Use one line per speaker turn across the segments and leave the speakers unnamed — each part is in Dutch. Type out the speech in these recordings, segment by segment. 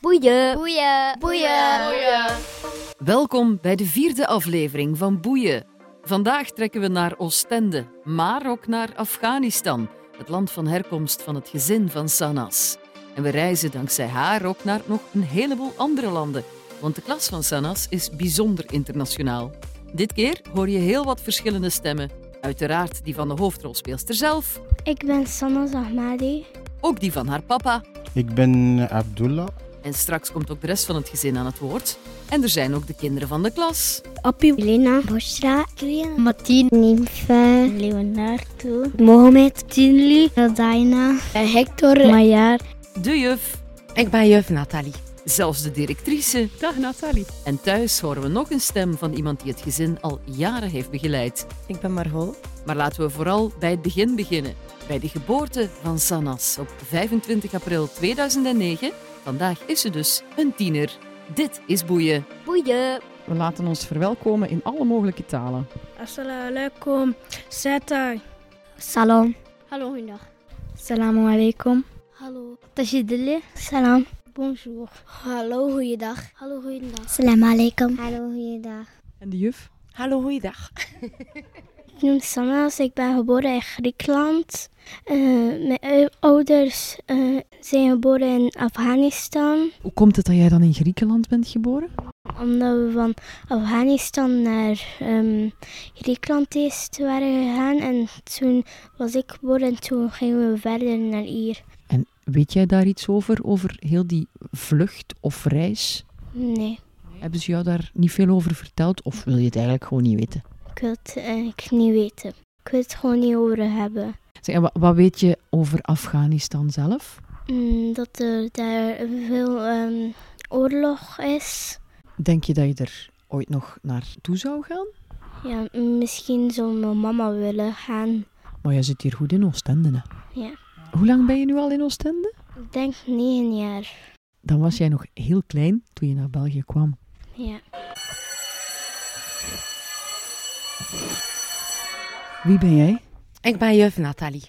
Boeien!
Boeien.
Welkom bij de vierde aflevering van Boeien. Vandaag trekken we naar Oostende, maar ook naar Afghanistan, het land van herkomst van het gezin van Sanas. En we reizen dankzij haar ook naar nog een heleboel andere landen, want de klas van Sanas is bijzonder internationaal. Dit keer hoor je heel wat verschillende stemmen. Uiteraard die van de hoofdrolspeelster zelf,
Ik ben Sanna Zahmadi.
ook die van haar papa,
Ik ben Abdullah.
en straks komt ook de rest van het gezin aan het woord. En er zijn ook de kinderen van de klas.
Appie,
Elena. Bushra. Krian.
Martien.
Nimfa. Leonardo. Mohamed. Tinli. Daina. Hector. Mayar.
De juf,
Ik ben juf Nathalie.
zelfs de directrice.
Dag Nathalie.
En thuis horen we nog een stem van iemand die het gezin al jaren heeft begeleid.
Ik ben Margol.
Maar laten we vooral bij het begin beginnen. Bij de geboorte van Sanas op 25 april 2009. Vandaag is ze dus een tiener. Dit is Boeien.
boeien!
We laten ons verwelkomen in alle mogelijke talen.
Assalamu alaikum. Seta.
Salam.
Hallo, goedendag.
Salamu alaikum.
Hallo.
Tajidili. Salam.
Bonjour. Hallo, goeiedag. Hallo, goeiedag.
Salam alaikum. Hallo, goeiedag.
En de juf?
Hallo, goeiedag.
Ik noem Sannas. Ik ben geboren in Griekenland. Eh, mijn ou- ouders eh, zijn geboren in Afghanistan.
Hoe komt het dat jij dan in Griekenland bent geboren?
Omdat we van Afghanistan naar ehm, Griekenland eerst waren gegaan. En toen was ik geboren en toen gingen we verder naar hier.
En weet jij daar iets over, over heel die vlucht of reis?
Nee,
Hebben ze jou daar niet veel over verteld of wil je het eigenlijk gewoon niet weten?
ik wil het eigenlijk niet weten. Ik wil het gewoon niet over hebben.
Zeg, en wa- wat weet je over Afghanistan zelf?
Mm, dat er daar veel ehm, oorlog is.
Denk je dat je er ooit nog naartoe zou gaan?
Ja, misschien zou mijn mama willen gaan.
Maar jij zit hier goed in Oostende. Hè?
Ja.
Hoe lang ben je nu al in Oostende?
Ik denk negen jaar.
Dan was jij nog heel klein toen je naar België kwam.
Ja.
Wie ben jij?
Ik ben juf Nathalie.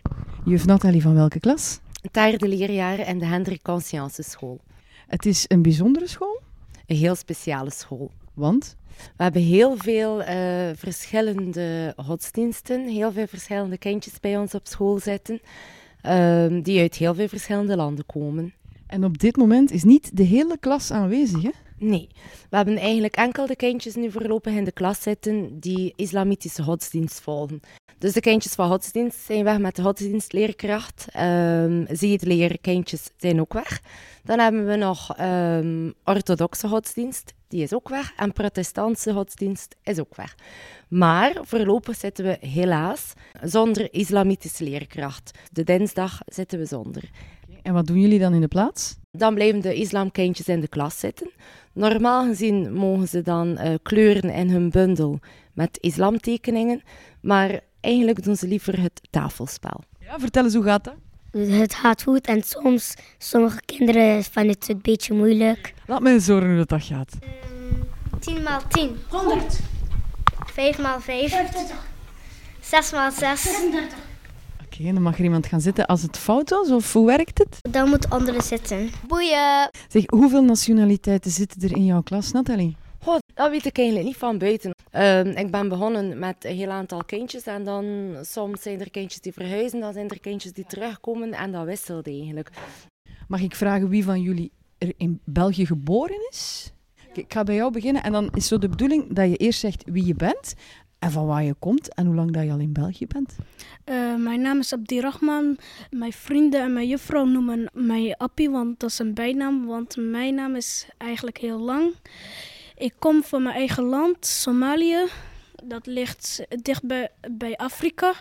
Juf Nathalie van welke klas?
Derde leerjaar in de Hendrik Conscience School.
Het is een bijzondere school,
Een heel speciale school.
want
We hebben heel veel eh, verschillende godsdiensten, heel veel verschillende kindjes bij ons op school zitten, ehm, die uit heel veel verschillende landen komen.
En op dit moment is niet de hele klas aanwezig. Hè?
Nee, we hebben eigenlijk enkel de kindjes nu voorlopig in de klas zitten die islamitische godsdienst volgen. Dus de kindjes van godsdienst zijn weg met de godsdienstleerkracht. Ehm zie het leren kindjes zijn ook weg. Dan hebben we nog ehm, orthodoxe godsdienst, die is ook weg. En protestantse godsdienst is ook weg. Maar voorlopig zitten we helaas zonder islamitische leerkracht. De dinsdag zitten we zonder.
En wat doen jullie dan in de plaats?
Dan blijven de islamkindjes in de klas zitten. Normaal gezien mogen ze dan eh, kleuren in hun bundel met islamtekeningen, maar eigenlijk doen ze liever het tafelspel.
Ja, vertel eens hoe gaat dat?
Het gaat goed en soms, sommige kinderen vinden het een beetje moeilijk.
Laat me eens horen hoe dat, dat gaat.
10 maal 10.
5 maal 5. 6 maal 6.
Oké, dan mag er iemand gaan zitten als het fout was, of hoe werkt het?
Dan moet anderen zitten.
Boeien.
Zeg, hoeveel nationaliteiten zitten er in jouw klas, Nathalie?
Goh, dat weet ik eigenlijk niet van buiten. Ehm, ik ben begonnen met een heel aantal kindjes en dan soms zijn er kindjes die verhuizen, dan zijn er kindjes die terugkomen en dat wisselt eigenlijk.
Mag ik vragen wie van jullie er in België geboren is? Oké, ik ga bij jou beginnen en dan is zo de bedoeling dat je eerst zegt wie je bent en van waar je komt en hoe lang dat je al in België bent.
Eh, mijn naam is Abdirahman. Mijn vrienden en mijn juffrouw noemen mij Appie, want dat is een bijnaam. Want mijn naam is eigenlijk heel lang. Ik kom van mijn eigen land, Somalië. Dat ligt dicht bij, bij Afrika.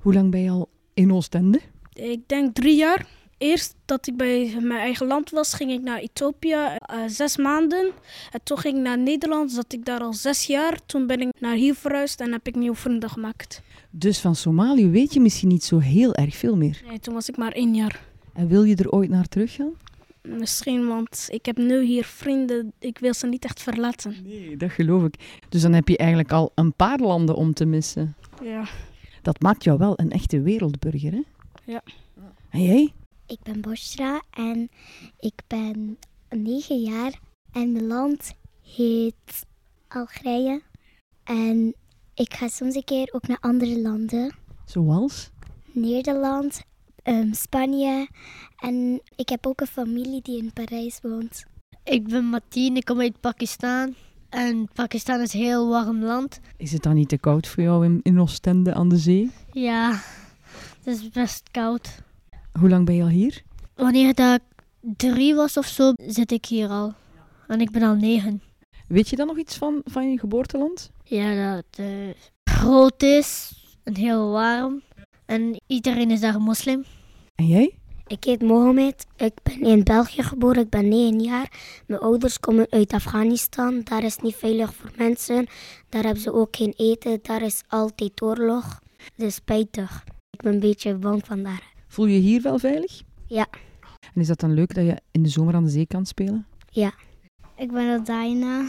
Hoe lang ben je al in Oostende?
Ik denk drie jaar. Eerst dat ik bij mijn eigen land was, ging ik naar Ethiopië, eh, zes maanden. En toen ging ik naar Nederland, zat ik daar al zes jaar. Toen ben ik naar hier verhuisd en heb ik nieuwe vrienden gemaakt.
Dus van Somalië weet je misschien niet zo heel erg veel meer.
Nee, toen was ik maar één jaar.
En wil je er ooit naar teruggaan?
Misschien, want ik heb nu hier vrienden. Ik wil ze niet echt verlaten.
Nee, dat geloof ik. Dus dan heb je eigenlijk al een paar landen om te missen.
Ja.
Dat maakt jou wel een echte wereldburger, hè?
Ja.
En jij?
Ik ben Bosra en ik ben negen jaar en mijn land heet Algerije. En ik ga soms een keer ook naar andere landen.
Zoals?
Nederland, ehm, Spanje. En ik heb ook een familie die in Parijs woont.
Ik ben Martien, ik kom uit Pakistan. En Pakistan is een heel warm land.
Is het dan niet te koud voor jou in, in Oostende aan de zee?
Ja, het is best koud.
Hoe lang ben je al hier?
Wanneer dat ik drie was of zo, zit ik hier al. En ik ben al negen.
Weet je dan nog iets van, van je geboorteland?
Ja, dat het eh, groot is en heel warm. En iedereen is daar moslim.
En jij?
Ik heet Mohamed. Ik ben in België geboren. Ik ben 9 jaar. Mijn ouders komen uit Afghanistan. Daar is niet veilig voor mensen. Daar hebben ze ook geen eten. Daar is altijd oorlog. Het is spijtig. Ik ben een beetje bang vandaar.
Voel je je hier wel veilig?
Ja.
En is dat dan leuk dat je in de zomer aan de zee kan spelen?
Ik ben Adaina.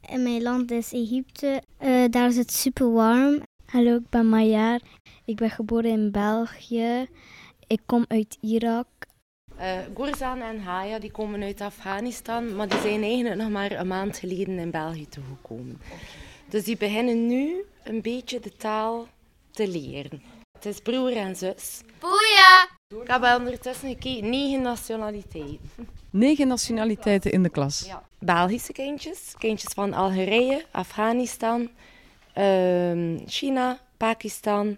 En mijn land is Egypte. Eh, daar is het super warm. Hallo, ik ben Mayar. Ik ben geboren in België. Ik kom uit Irak.
Eh Gurzan en Haya die komen uit Afghanistan, maar die zijn eigenlijk nog maar een maand geleden in België toegekomen. Dus die beginnen nu een beetje de taal te leren. Het is broer en zus. Boeia! Ik heb ondertussen gekeken, negen nationaliteiten.
Negen nationaliteiten in de klas.
Belgische kindjes, kindjes van Algerije, Afghanistan, ehm, China, Pakistan,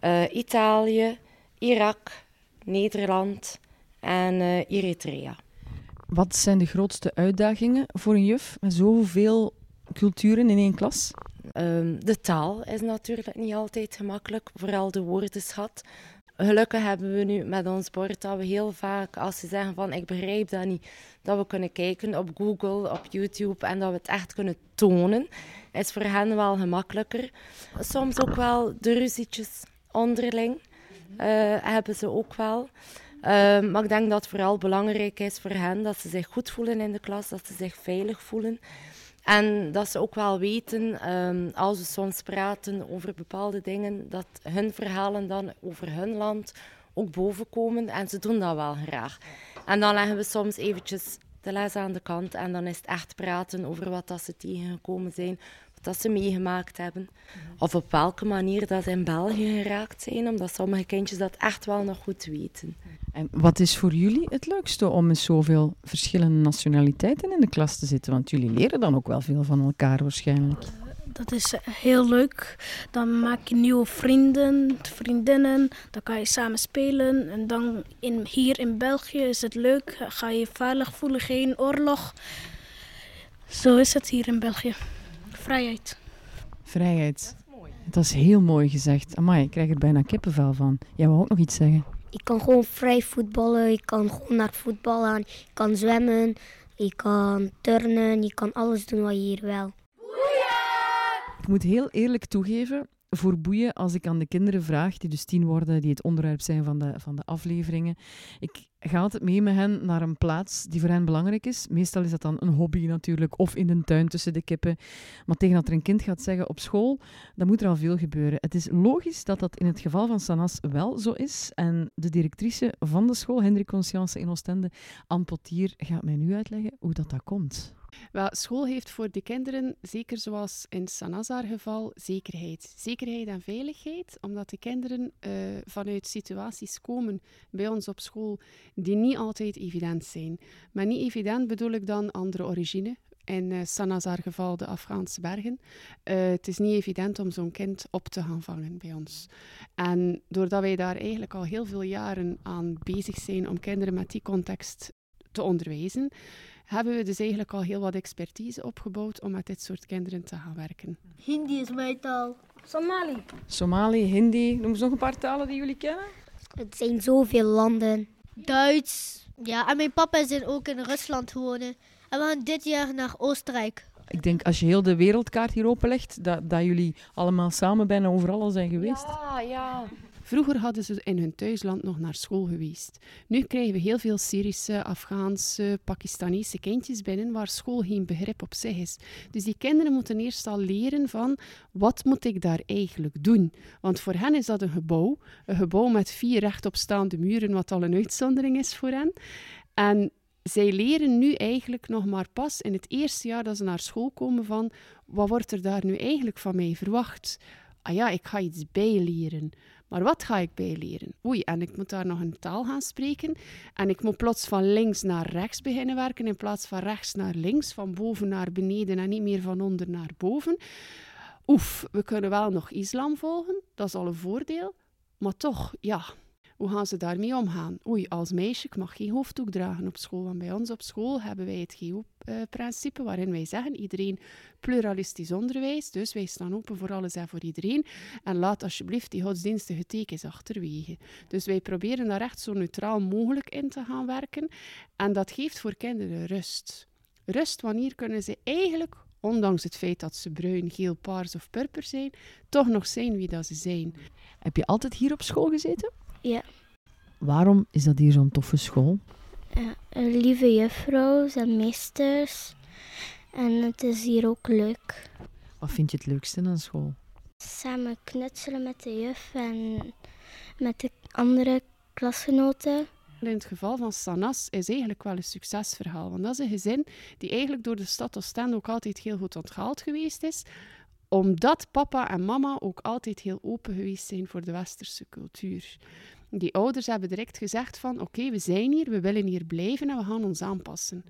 eh, Italië, Irak, Nederland en eh, Eritrea.
Wat zijn de grootste uitdagingen voor een juf met zoveel culturen in één klas?
Ehm, de taal is natuurlijk niet altijd gemakkelijk, vooral de woordenschat. Gelukkig hebben we nu met ons bord dat we heel vaak, als ze zeggen van ik begrijp dat niet, dat we kunnen kijken op Google, op YouTube en dat we het echt kunnen tonen. Is voor hen wel gemakkelijker. Soms ook wel de ruzietjes onderling eh, hebben ze ook wel. Ehm, maar ik denk dat het vooral belangrijk is voor hen dat ze zich goed voelen in de klas, dat ze zich veilig voelen. En dat ze ook wel weten, ehm, als we soms praten over bepaalde dingen, dat hun verhalen dan over hun land ook bovenkomen. En ze doen dat wel graag. En dan leggen we soms eventjes de les aan de kant en dan is het echt praten over wat dat ze tegengekomen zijn, wat dat ze meegemaakt hebben. Of op welke manier dat ze in België geraakt zijn, omdat sommige kindjes dat echt wel nog goed weten.
En wat is voor jullie het leukste om met zoveel verschillende nationaliteiten in de klas te zitten? Want jullie leren dan ook wel veel van elkaar waarschijnlijk.
Dat is eh, heel leuk. Dan maak je nieuwe vrienden, vriendinnen. Dan kan je samen spelen. En dan in, hier in België is het leuk. Ga je je veilig voelen, geen oorlog. Zo is het hier in België. Vrijheid.
Vrijheid. Dat is heel mooi gezegd. Amai, ik krijg er bijna kippenvel van. Jij wou ook nog iets zeggen.
Ik kan gewoon vrij voetballen. Ik kan gewoon naar voetbal gaan. Ik kan zwemmen. Ik kan turnen. Ik kan alles doen wat je hier wil.
Ik moet heel eerlijk toegeven, voor boeien, als ik aan de kinderen vraag, die dus tien worden, die het onderwerp zijn van de, van de afleveringen, ik ga altijd mee met hen naar een plaats die voor hen belangrijk is. Meestal is dat dan een hobby natuurlijk, of in de tuin tussen de kippen. Maar tegen dat er een kind gaat zeggen op school, dan moet er al veel gebeuren. Het is logisch dat dat in het geval van Sanas wel zo is. En de directrice van de school, Hendrik Conscience in Oostende, Anne Potier, gaat mij nu uitleggen hoe dat, dat komt.
Wel, school heeft voor de kinderen, zeker zoals in Sanazar geval, zekerheid. Zekerheid en veiligheid, omdat de kinderen eh, vanuit situaties komen bij ons op school die niet altijd evident zijn. Maar niet evident bedoel ik dan andere origine. In eh Sanazar geval de Afghaanse bergen. Eh, het is niet evident om zo'n kind op te gaan vangen bij ons. En doordat wij daar eigenlijk al heel veel jaren aan bezig zijn om kinderen met die context te onderwijzen, hebben we dus eigenlijk al heel wat expertise opgebouwd om met dit soort kinderen te gaan werken.
Hindi is mijn taal. Somali.
Somali, Hindi, noem eens nog een paar talen die jullie kennen.
Het zijn zoveel landen.
Duits. Ja, en mijn papa is in- ook in Rusland gewonnen. En we gaan dit jaar naar Oostenrijk.
Ik denk als je heel de wereldkaart hier openlegt, dat, dat jullie allemaal samen bijna overal al zijn geweest.
Ja, ja.
Vroeger hadden ze in hun thuisland nog naar school geweest. Nu krijgen we heel veel Syrische, Afghaanse, Pakistanese kindjes binnen waar school geen begrip op zich is. Dus die kinderen moeten eerst al leren van wat moet ik daar eigenlijk doen? Want voor hen is dat een gebouw, een gebouw met vier rechtopstaande muren, wat al een uitzondering is voor hen. En zij leren nu eigenlijk nog maar pas in het eerste jaar dat ze naar school komen van wat wordt er daar nu eigenlijk van mij verwacht? Ah ja, ik ga iets bijleren. Maar wat ga ik bijleren? Oei, en ik moet daar nog een taal gaan spreken. En ik moet plots van links naar rechts beginnen werken in plaats van rechts naar links, van boven naar beneden en niet meer van onder naar boven. Oef, we kunnen wel nog islam volgen, dat is al een voordeel. Maar toch, ja, hoe gaan ze daarmee omgaan? Oei, als meisje, ik mag geen hoofddoek dragen op school. Want bij ons op school hebben wij het GEO-principe, waarin wij zeggen, iedereen pluralistisch onderwijs. Dus wij staan open voor alles en voor iedereen. En laat alsjeblieft die godsdienstige tekens achterwege. Dus wij proberen daar echt zo neutraal mogelijk in te gaan werken. En dat geeft voor kinderen rust. Rust wanneer kunnen ze eigenlijk, ondanks het feit dat ze bruin, geel, paars of purper zijn, toch nog zijn wie dat ze zijn.
Heb je altijd hier op school gezeten?
Ja.
Waarom is dat hier zo'n toffe school?
Ja, eh, lieve juffrouws en meesters. En het is hier ook leuk.
Wat vind je het leukste aan school?
Samen knutselen met de juf en met de andere klasgenoten.
In het geval van Sanas is eigenlijk wel een succesverhaal. Want dat is een gezin die eigenlijk door de stad Oostende ook altijd heel goed onthaald geweest is. Omdat papa en mama ook altijd heel open geweest zijn voor de westerse cultuur. Die ouders hebben direct gezegd van oké, we zijn hier, we willen hier blijven en we gaan ons aanpassen.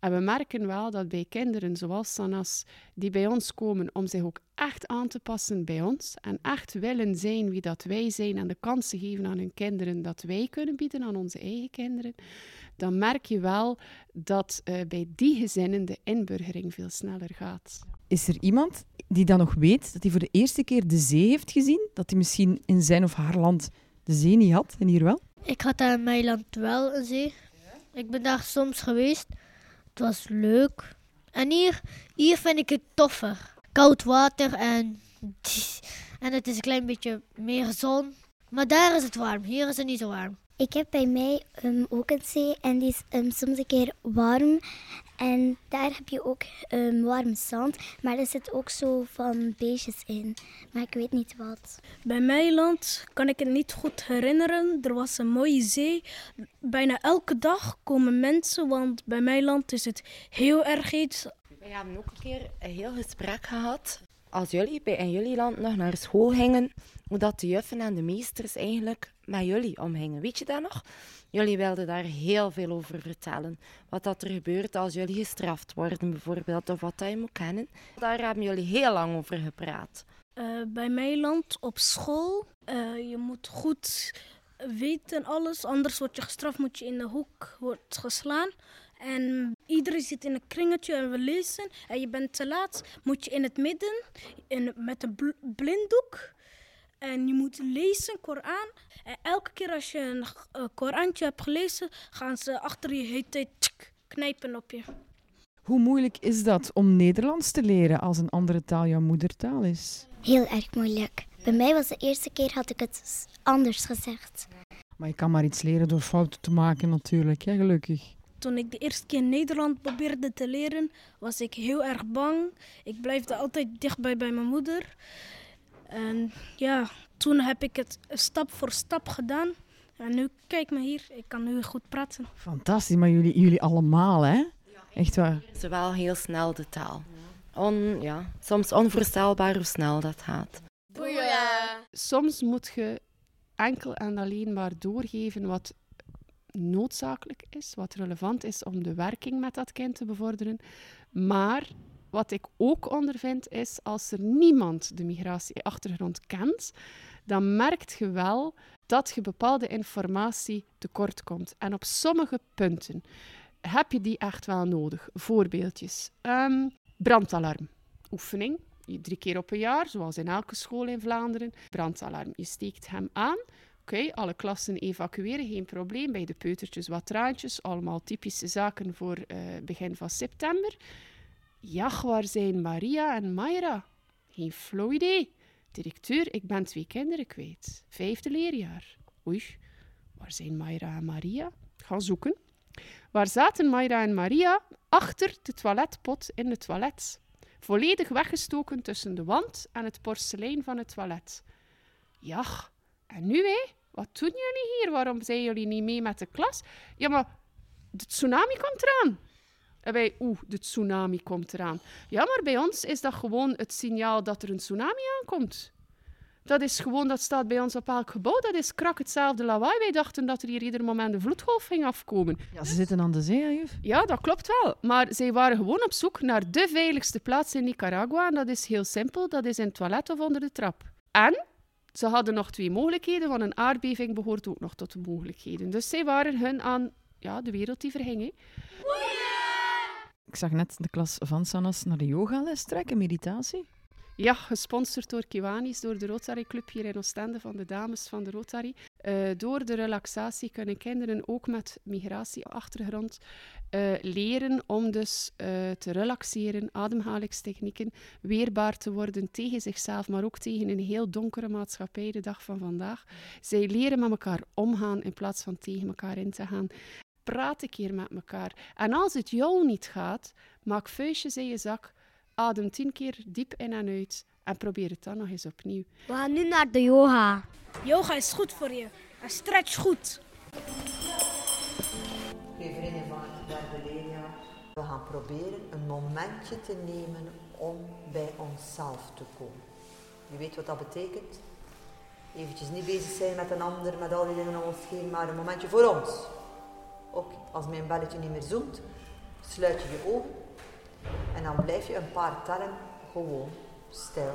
En we merken wel dat bij kinderen zoals Sanas, die bij ons komen om zich ook echt aan te passen bij ons en echt willen zijn wie dat wij zijn en de kansen geven aan hun kinderen dat wij kunnen bieden aan onze eigen kinderen, dan merk je wel dat eh, bij die gezinnen de inburgering veel sneller gaat.
Is er iemand die dan nog weet dat hij voor de eerste keer de zee heeft gezien? Dat hij misschien in zijn of haar land de zee niet had en hier wel?
Ik had daar in mijn land wel een zee. Ik ben daar soms geweest. Het was leuk. En hier, hier vind ik het toffer. Koud water en, en het is een klein beetje meer zon. Maar daar is het warm. Hier is het niet zo warm.
Ik heb bij mij ehm, ook een zee en die is ehm, soms een keer warm. En daar heb je ook ehm, warm zand, maar er zit ook zo van beestjes in. Maar ik weet niet wat.
Bij mijn land kan ik het niet goed herinneren. Er was een mooie zee. Bijna elke dag komen mensen, want bij mijn land is het heel erg heet.
We hebben ook een keer een heel gesprek gehad. Als jullie bij in jullie land nog naar school gingen, hoe dat de juffen en de meesters eigenlijk met jullie omhingen. Weet je dat nog? Jullie wilden daar heel veel over vertellen. Wat dat er gebeurt als jullie gestraft worden bijvoorbeeld, of wat dat je moet kennen. Daar hebben jullie heel lang over gepraat.
Eh, bij mijn land op school, eh, je moet goed weten alles, anders word je gestraft, moet je in de hoek wordt geslaan. En iedereen zit in een kringetje en we lezen. En je bent te laat, moet je in het midden in, met een bl- blinddoek. En je moet lezen, Koran. En elke keer als je een eh, Korantje hebt gelezen, gaan ze achter je hete tsk knijpen op je.
Hoe moeilijk is dat om Nederlands te leren als een andere taal jouw moedertaal is?
Heel erg moeilijk. Bij mij was de eerste keer had ik het s- anders gezegd.
Maar je kan maar iets leren door fouten te maken natuurlijk, hè, gelukkig.
Toen ik de eerste keer Nederland probeerde te leren, was ik heel erg bang. Ik blijfde altijd dichtbij bij mijn moeder. En ja, toen heb ik het stap voor stap gedaan. En nu, kijk me hier, ik kan nu goed praten.
Fantastisch, maar jullie, jullie allemaal, hè? Echt waar.
Ze wel heel snel de taal. On, ja, soms onvoorstelbaar hoe snel dat gaat.
soms moet je enkel en alleen maar doorgeven wat noodzakelijk is, wat relevant is om de werking met dat kind te bevorderen. Maar wat ik ook ondervind is, als er niemand de migratieachtergrond kent, dan merkt je wel dat je bepaalde informatie tekort komt. En op sommige punten heb je die echt wel nodig. Voorbeeldjes. Ehm, brandalarm. Oefening. Drie keer op een jaar, zoals in elke school in Vlaanderen brandalarm. Je steekt hem aan. Oké, alle klassen evacueren, geen probleem. Bij de peutertjes wat traantjes. Allemaal typische zaken voor eh, begin van september. Ja, waar zijn Maria en Mayra? Geen flauw idee. Directeur, ik ben twee kinderen kwijt. Vijfde leerjaar. Oei, waar zijn Mayra en Maria? Ik ga zoeken. Waar zaten Mayra en Maria? Achter de toiletpot in het toilet. Volledig weggestoken tussen de wand en het porselein van het toilet. Ja, en nu hé? Wat doen jullie hier? Waarom zijn jullie niet mee met de klas? Ja, maar de tsunami komt eraan. En wij, oeh, de tsunami komt eraan. Ja, maar bij ons is dat gewoon het signaal dat er een tsunami aankomt. Dat is gewoon, dat staat bij ons op elk gebouw. Dat is krak hetzelfde lawaai. Wij dachten dat er hier ieder moment een vloedgolf ging afkomen.
Ja, ze zitten aan de zee, hè, juf?
Ja, dat klopt wel. Maar zij waren gewoon op zoek naar de veiligste plaats in Nicaragua. En dat is heel simpel. Dat is in het toilet of onder de trap. En ze hadden nog twee mogelijkheden, want een aardbeving behoort ook nog tot de mogelijkheden. Dus zij waren hun aan ja, de wereld die verging. hè.
Ik zag net de klas van Sanas naar de yogales trekken, meditatie.
Ja, gesponsord door Kiwanis, door de Rotary Club hier in Oostende van de dames van de Rotary. Eh, door de relaxatie kunnen kinderen ook met migratieachtergrond eh, leren om dus eh, te relaxeren, ademhalingstechnieken, weerbaar te worden tegen zichzelf, maar ook tegen een heel donkere maatschappij de dag van vandaag. Zij leren met elkaar omgaan in plaats van tegen elkaar in te gaan. Praat een keer met elkaar. En als het jou niet gaat, maak vuistjes in je zak Adem tien keer diep in en uit en probeer het dan nog eens opnieuw.
We gaan nu naar de yoga.
Yoga is goed voor je. En stretch goed.
Lieve vrienden van het Barbelia, we gaan proberen een momentje te nemen om bij onszelf te komen. Je weet wat dat betekent? Eventjes niet bezig zijn met een ander, met al die dingen om ons heen, maar een momentje voor ons. Ook als mijn belletje niet meer zoomt, sluit je je ogen en dan blijf je een paar tellen gewoon stil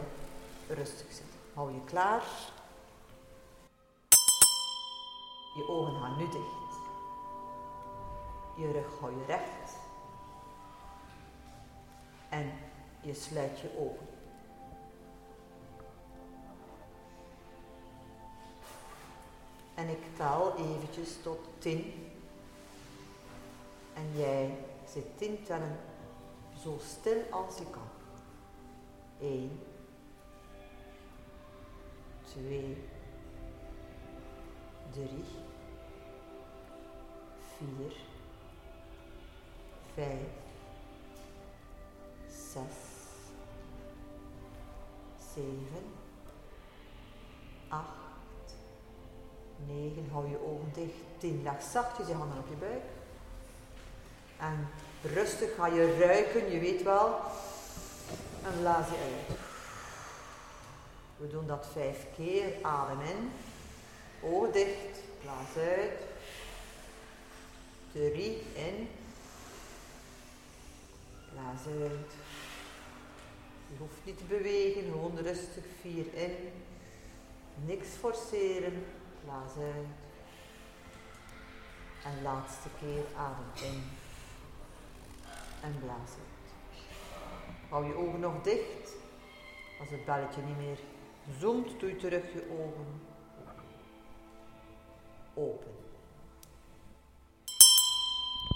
rustig zitten. Hou je klaar. Je ogen gaan nu dicht. Je rug hou je recht. En je sluit je ogen. En ik tel eventjes tot tien. En jij zit tien tellen zo stil als je kan. Eén. Twee. Drie. Vier vijf, zes, zeven, acht, negen. Hou je ogen dicht. Tien. Leg zachtjes je handen op je buik. En rustig ga je ruiken, je weet wel. En blaas je uit. We doen dat vijf keer. Adem in. Ogen dicht. Blaas uit. Drie in. Blaas uit. Je hoeft niet te bewegen, gewoon rustig. Vier in. Niks forceren. Blaas uit. En laatste keer adem in. En blaas uit. Hou je ogen nog dicht. Als het belletje niet meer zoomt, doe je terug je ogen. Open.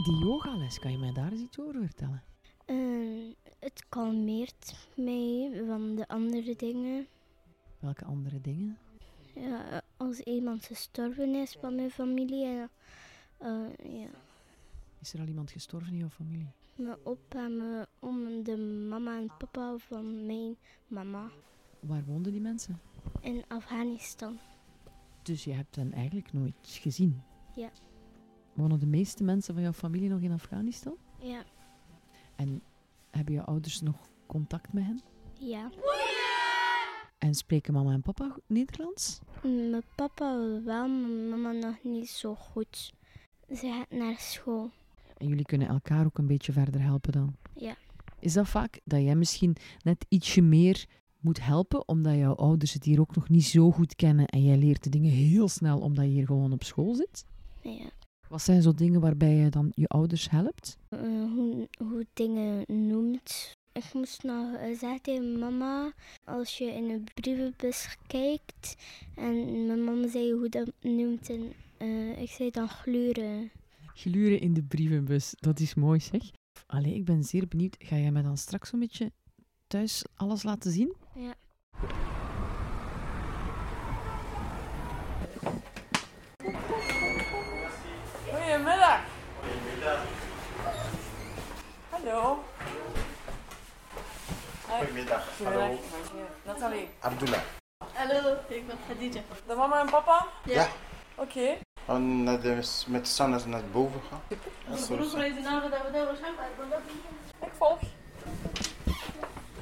Die yogales, kan je mij daar eens iets over vertellen?
Eh, het kalmeert mij van de andere dingen.
Welke andere dingen?
Ja, eh, als iemand gestorven is van mijn familie. eh, eh, ja.
Is er al iemand gestorven in jouw familie?
Mijn opa en mijn oom, de mama en papa van mijn mama
Waar woonden die mensen?
in Afghanistan.
Dus je hebt hen eigenlijk nooit gezien?
Ja.
Wonen de meeste mensen van jouw familie nog in Afghanistan?
Ja,
En hebben je ouders nog contact met hen?
ja.
En spreken mama en papa goed Nederlands?
Mm, Mijn papa wel, mijn mama nog niet zo goed. Ze gaat naar school.
En jullie kunnen elkaar ook een beetje verder helpen dan?
Ja.
Is dat vaak dat jij misschien net ietsje meer moet helpen, omdat jouw ouders het hier ook nog niet zo goed kennen en jij leert de dingen heel snel omdat je hier gewoon op school zit?
Ja.
Wat zijn zo dingen waarbij je dan je ouders helpt?
Eh, hoe, hoe dingen noemt. Ik moest nog eh, zeggen tegen mama, als je in de brievenbus kijkt en mijn mama zei hoe dat noemt en eh, ik zei dan gluren.
Gluren in de brievenbus, dat is mooi zeg. Allee, ik ben zeer benieuwd. Ga jij mij dan straks een beetje thuis alles laten zien?
Ja.
Goedemiddag. Hallo.
Goedemiddag. Hallo.
Nathalie.
Abdullah.
De mama en papa?
Ja.
Oké.
En naar de, met Sannes naar boven gaan. Ja, zo is het.
Ik volg.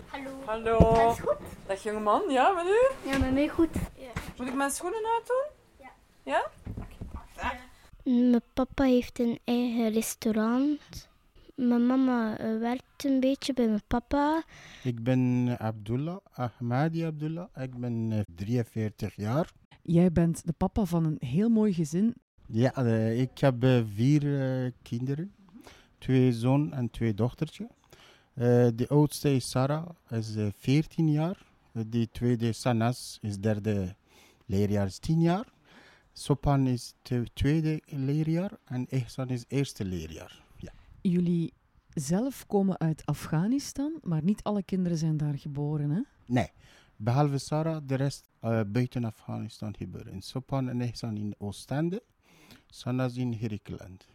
Hallo.
Hallo.
Alles goed?
Dag jongeman, ja, met u?
Ja, met mij goed.
Moet ik mijn schoenen uitdoen?
Ja.
Ja?
Mijn papa heeft een eigen restaurant. Mijn mama eh, werkt een beetje bij mijn papa.
Ik ben eh, Abdullah, Ahmadi Abdullah. Ik ben eh, 43 jaar.
Jij bent de papa van een heel mooi gezin.
Ja, eh, ik heb eh, vier eh, kinderen. Twee zoon en twee dochtertjes. Eh, de oudste is Sarah, is eh, 14 jaar. De tweede Sanas is derde leerjaar, is 10 jaar. Sopan is de tweede leerjaar en Ehsan is eerste leerjaar. Ja.
Jullie zelf komen uit Afghanistan, maar niet alle kinderen zijn daar geboren. Hè?
Nee, behalve Sarah, de rest eh, buiten Afghanistan gebeuren. Sopan en Ehsan in Oostende, Sanas in Herikland.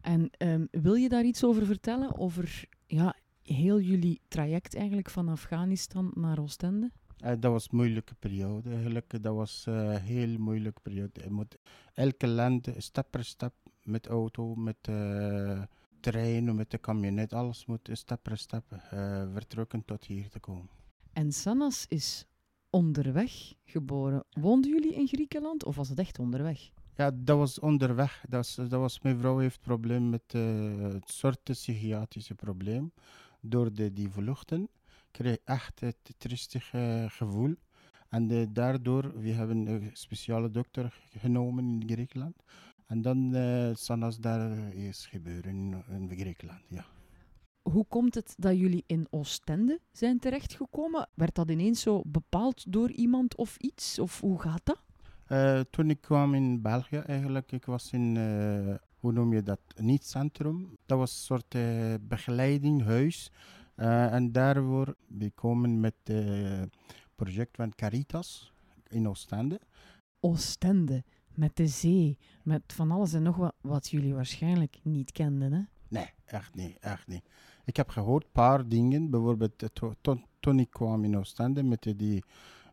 En ehm, wil je daar iets over vertellen? Over ja, heel jullie traject eigenlijk van Afghanistan naar Oostende?
Eh, dat was een moeilijke periode. Eigenlijk, dat was eh, een heel moeilijke periode. Je moet elke land eh, stap per stap met auto, met eh, trein, met de camionet, alles moet stap per stap eh, vertrekken tot hier te komen.
En Sannas is onderweg geboren. Woonden jullie in Griekenland of was het echt onderweg?
Ja, dat was onderweg. Dat was, dat was mijn vrouw heeft probleem met eh het soort psychiatrische probleem. Door de, die vluchten kreeg echt het triestige gevoel. En eh, daardoor, we hebben een speciale dokter genomen in Griekenland. En dan eh Sanas daar is gebeuren in, in Griekenland, ja.
Hoe komt het dat jullie in Oostende zijn terechtgekomen? Werd dat ineens zo bepaald door iemand of iets? Of hoe gaat dat?
Eh, toen ik kwam in België eigenlijk, ik was in, eh, hoe noem je dat, niet centrum. Dat was een soort eh, begeleidinghuis. Eh, en daarvoor, we komen met het project van Caritas in Oostende.
Oostende, met de zee, met van alles en nog wat, wat jullie waarschijnlijk niet kenden. Hè?
Nee, echt niet, echt niet. Ik heb gehoord een paar dingen, bijvoorbeeld eh, to- to- toen ik kwam in Oostende met eh, die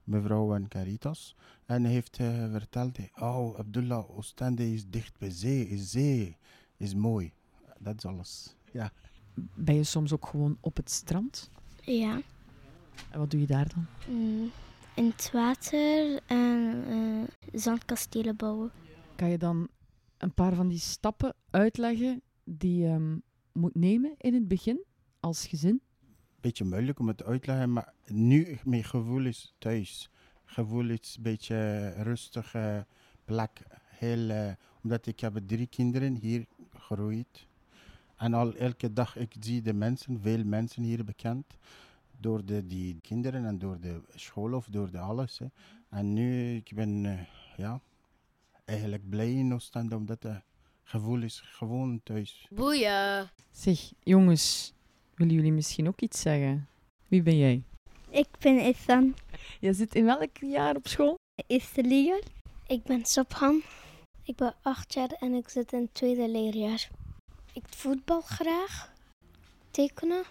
mevrouw van Caritas. En heeft eh, verteld, eh, oh Abdullah, Oostende is dicht bij zee, is zee, is mooi. Dat is alles, ja.
Ben je soms ook gewoon op het strand?
Ja.
En wat doe je daar dan?
Mm, In het water en eh, zandkastelen bouwen.
Kan je dan een paar van die stappen uitleggen die je ehm, moet nemen in het begin als gezin?
beetje moeilijk om het uit te leggen, maar nu mijn gevoel is thuis. Gevoel is een beetje rustige plek. Heel, eh, omdat ik heb drie kinderen hier gegroeid. En al elke dag ik zie de mensen, veel mensen hier bekend. Door de, die kinderen en door de school of door de alles. Hè. En nu ik ben eh, ja, eigenlijk blij in Oostende omdat het gevoel is gewoon thuis.
Boeien.
Zeg, jongens, willen jullie misschien ook iets zeggen? Wie ben jij?
Ik ben Ethan.
Jij zit in welk jaar op school?
Eerste leerjaar.
Ik ben Sabhan. Ik ben acht jaar en ik zit in het tweede leerjaar. Ik voetbal graag. Tekenen.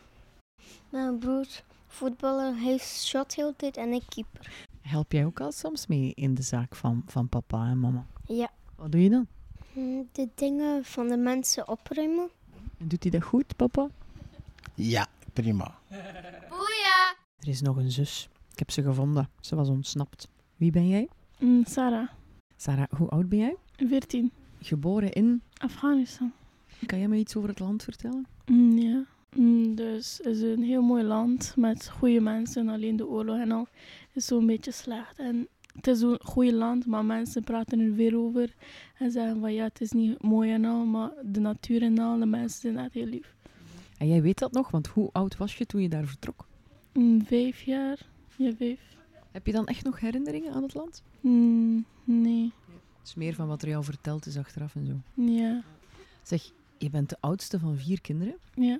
Mijn broer voetballen, hij shot heel de tijd en ik keeper.
Help jij ook al soms mee in de zaak van, van papa en mama?
Ja.
Wat doe je dan?
Mm, De dingen van de mensen opruimen.
En doet hij dat goed, papa?
Ja, prima.
Boeien.
Er is nog een zus. Ik heb ze gevonden. Ze was ontsnapt. Wie ben jij?
Mm, Sarah,
Sarah, hoe oud ben jij?
14.
Geboren in...
Afghanistan.
Kan jij me iets over het land vertellen?
Mm, ja. Mm, dus het is een heel mooi land met goede mensen. Alleen de oorlog en al is zo'n beetje slecht. En het is een goed land, maar mensen praten er weer over. En zeggen van ja, het is niet mooi en al, maar de natuur en al, de mensen zijn echt heel lief.
En jij weet dat nog, want hoe oud was je toen je daar vertrok?
Mm, vijf jaar? Ja, vijf.
Heb je dan echt nog herinneringen aan het land?
Mm, nee.
Het is meer van wat er jou verteld is achteraf en zo.
Ja.
Zeg, je bent de oudste van vier kinderen.
Ja.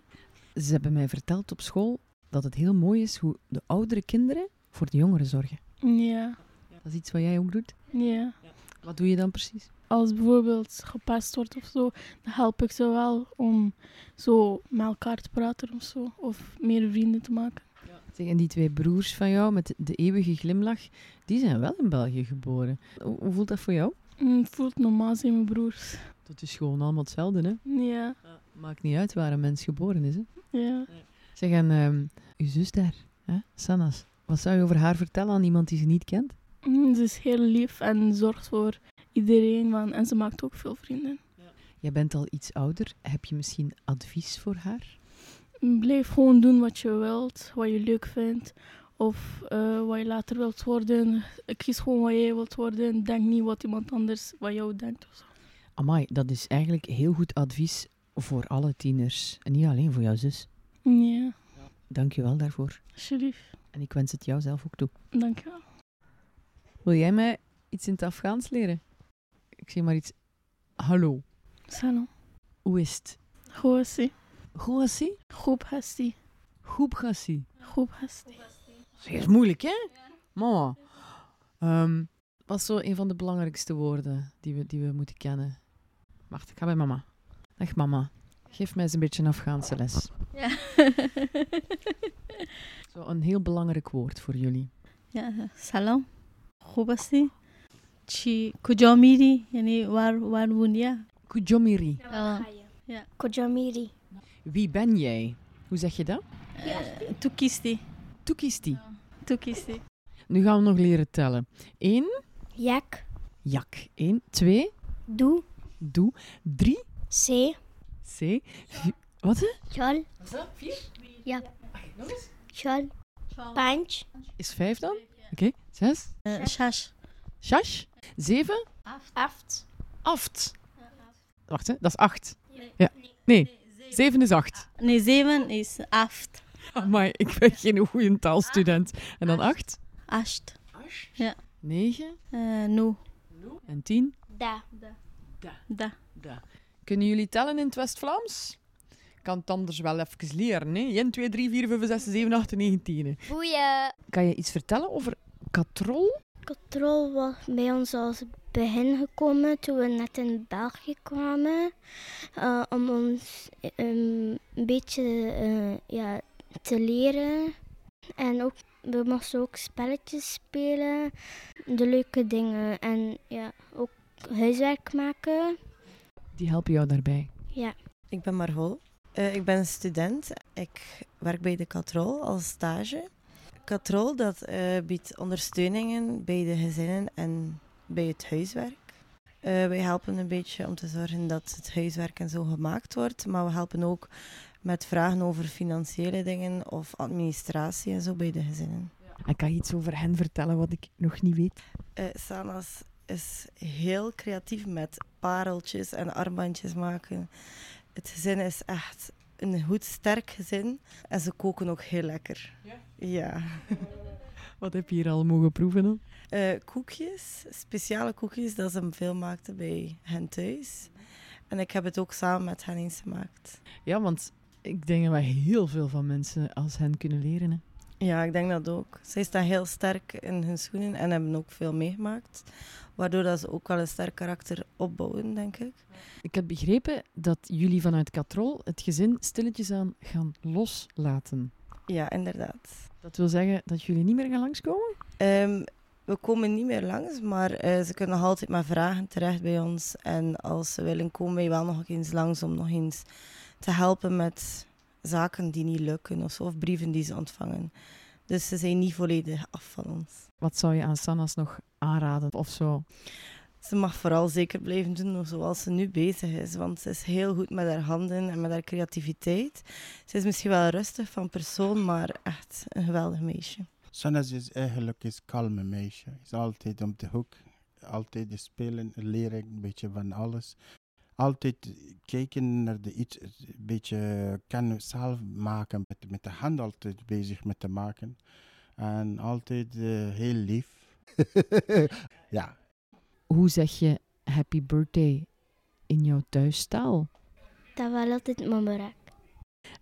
Ze hebben mij verteld op school dat het heel mooi is hoe de oudere kinderen voor de jongeren zorgen.
Ja.
Dat is iets wat jij ook doet.
Ja.
Wat doe je dan precies?
als bijvoorbeeld gepest wordt of zo, dan help ik ze wel om zo met elkaar te praten of zo. Of meer vrienden te maken.
Zeg, en die twee broers van jou met de eeuwige glimlach, die zijn wel in België geboren. Hoe, hoe voelt dat voor jou?
Mm, Het voelt normaal, zijn mijn broers.
Dat is gewoon allemaal hetzelfde, hè?
Ja,
Maakt niet uit waar een mens geboren is, hè?
ja.
Zeg, en ehm, uw zus daar, hè? Sanas, wat zou je over haar vertellen aan iemand die ze niet kent?
Mm, Ze is heel lief en zorgt voor iedereen. Want, en ze maakt ook veel vrienden.
Jij bent al iets ouder. Heb je misschien advies voor haar?
Blijf gewoon doen wat je wilt, wat je leuk vindt. Of eh, wat je later wilt worden. Kies gewoon wat jij wilt worden. Denk niet wat iemand anders wat jou denkt. of zo.
Amai, dat is eigenlijk heel goed advies voor alle tieners. En niet alleen voor jouw zus.
Ja,
Dank je wel daarvoor.
alsjeblieft.
En ik wens het jou zelf ook toe.
Dankjewel.
Wil jij mij iets in het Afghaans leren? Ik zeg maar iets. Hallo,
Salam.
hoe is het?
Goed hassie.
Goed hassie?
Goed hassie.
Goed gassie.
Goed hassie.
Dat is moeilijk, hè? Mama. Ehm, wat is zo een van de belangrijkste woorden die we, die we moeten kennen? Wacht, ik ga bij mama. Dag mama, geef mij eens een beetje een Afghaanse les.
Ja.
Zo een heel belangrijk woord voor jullie.
ja, salam. خوب هستی چی کجا میری یعنی ور ور woon je?
Kujomiri.
Ja.
Kojamiri.
Wie ben jij? Hoe zeg je dat?
Eh, Toekisti.
Toekisti.
Toekisti.
Nu gaan we nog leren tellen. Eén.
Jak.
Jak. Eén. Twee.
Doe.
Doe. Drie.
C.
C. Vier. Wat? hè?
Chol. Vier? Ja. Chol. Punch.
Is vijf dan? Oké. Zes.
Eh, Shash.
Shash. Zeven.
Aft.
Aft. Wacht, hè. dat is acht. Ja. Nee, zeven is acht.
Nee, zeven is aft.
Maar ik ben geen goede taalstudent. En dan acht.
Asht. Ja.
Negen.
Eh, nu.
En tien.
Da.
Da.
Kunnen jullie tellen in het West-Vlaams? Ik kan het anders wel even leren. Hè? 1, 2, 3, 4, 5, 6, 7, 8, 9, 10.
Boeien.
Kan je iets vertellen over katrol?
Katrol was bij ons als begin gekomen toen we net in België kwamen. eh, om ons eh, een beetje eh, ja, te leren. En ook, we moesten ook spelletjes spelen. De leuke dingen. En ja, ook huiswerk maken.
Die helpen jou daarbij.
Ja.
Ik ben Marhol. Eh, ik ben student. Ik werk bij de Katrol als stage. Katrol dat, eh, biedt ondersteuningen bij de gezinnen en bij het huiswerk. Eh, wij helpen een beetje om te zorgen dat het huiswerk en zo gemaakt wordt. Maar we helpen ook met vragen over financiële dingen of administratie en zo bij de gezinnen.
En kan je iets over hen vertellen wat ik nog niet weet?
Eh, Sanas is heel creatief met pareltjes en armbandjes maken. Het gezin is echt een goed sterk gezin en ze koken ook heel lekker. Ja.
Wat heb je hier al mogen proeven dan?
Eh, koekjes, speciale koekjes dat ze veel maakten bij hen thuis. En ik heb het ook samen met hen eens gemaakt.
Ja, want ik denk dat wij heel veel van mensen als hen kunnen leren. Hè?
Ja, ik denk dat ook. Zij staan heel sterk in hun schoenen en hebben ook veel meegemaakt. Waardoor dat ze ook wel een sterk karakter opbouwen, denk ik.
Ik heb begrepen dat jullie vanuit Katrol het gezin stilletjes aan gaan loslaten.
Ja, inderdaad.
Dat wil zeggen dat jullie niet meer gaan langskomen?
Ehm, we komen niet meer langs, maar eh, ze kunnen nog altijd maar vragen terecht bij ons. En als ze willen, komen wij wel nog eens langs om nog eens te helpen met zaken die niet lukken of, zo, of brieven die ze ontvangen. Dus ze zijn niet volledig af van ons.
Wat zou je aan Sanas nog aanraden of zo?
Ze mag vooral zeker blijven doen zoals ze nu bezig is, want ze is heel goed met haar handen en met haar creativiteit. Ze is misschien wel rustig van persoon, maar echt een geweldig meisje.
Sannes is eigenlijk een kalme meisje. Is altijd om de hoek. Altijd spelen, leren, een beetje van alles. Altijd kijken naar de iets, een beetje kan zelf maken. Met, met de hand altijd bezig met te maken. En altijd eh, heel lief. ja.
Hoe zeg je happy birthday in jouw thuistaal?
Dat was altijd mamarak.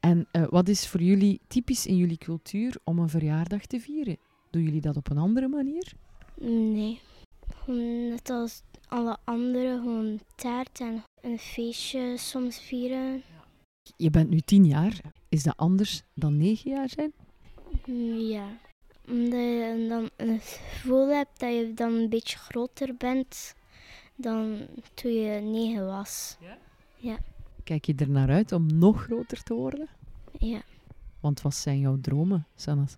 En eh, wat is voor jullie typisch in jullie cultuur om een verjaardag te vieren? Doen jullie dat op een andere manier?
Nee. Gewoon net als alle anderen, gewoon taart en een feestje soms vieren.
Je bent nu tien jaar. Is dat anders dan negen jaar zijn?
Mm,
Ja. Omdat je dan een gevoel hebt dat je dan een beetje groter bent.
dan toen je negen was.
Ja?
Ja.
Kijk je er naar uit om nog groter te worden?
ja.
Want wat zijn jouw dromen, Sanas?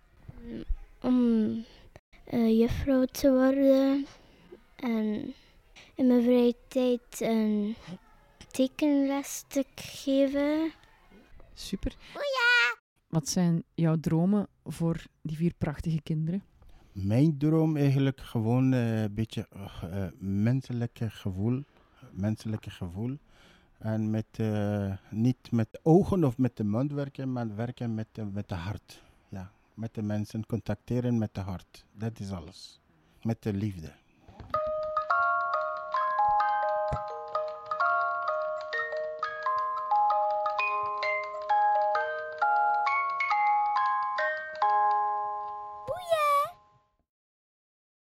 Om eh, juffrouw te worden en in mijn vrije tijd een tekenles te geven.
Super. Wat zijn jouw dromen voor die vier prachtige kinderen?
Mijn droom eigenlijk gewoon eh, een beetje eh, eh, menselijke gevoel. Menselijke gevoel. En met, eh, niet met de ogen of met de mond werken, maar werken met, de- met de hart. Ja, met de mensen, contacteren met de hart. Dat is alles. Met de liefde.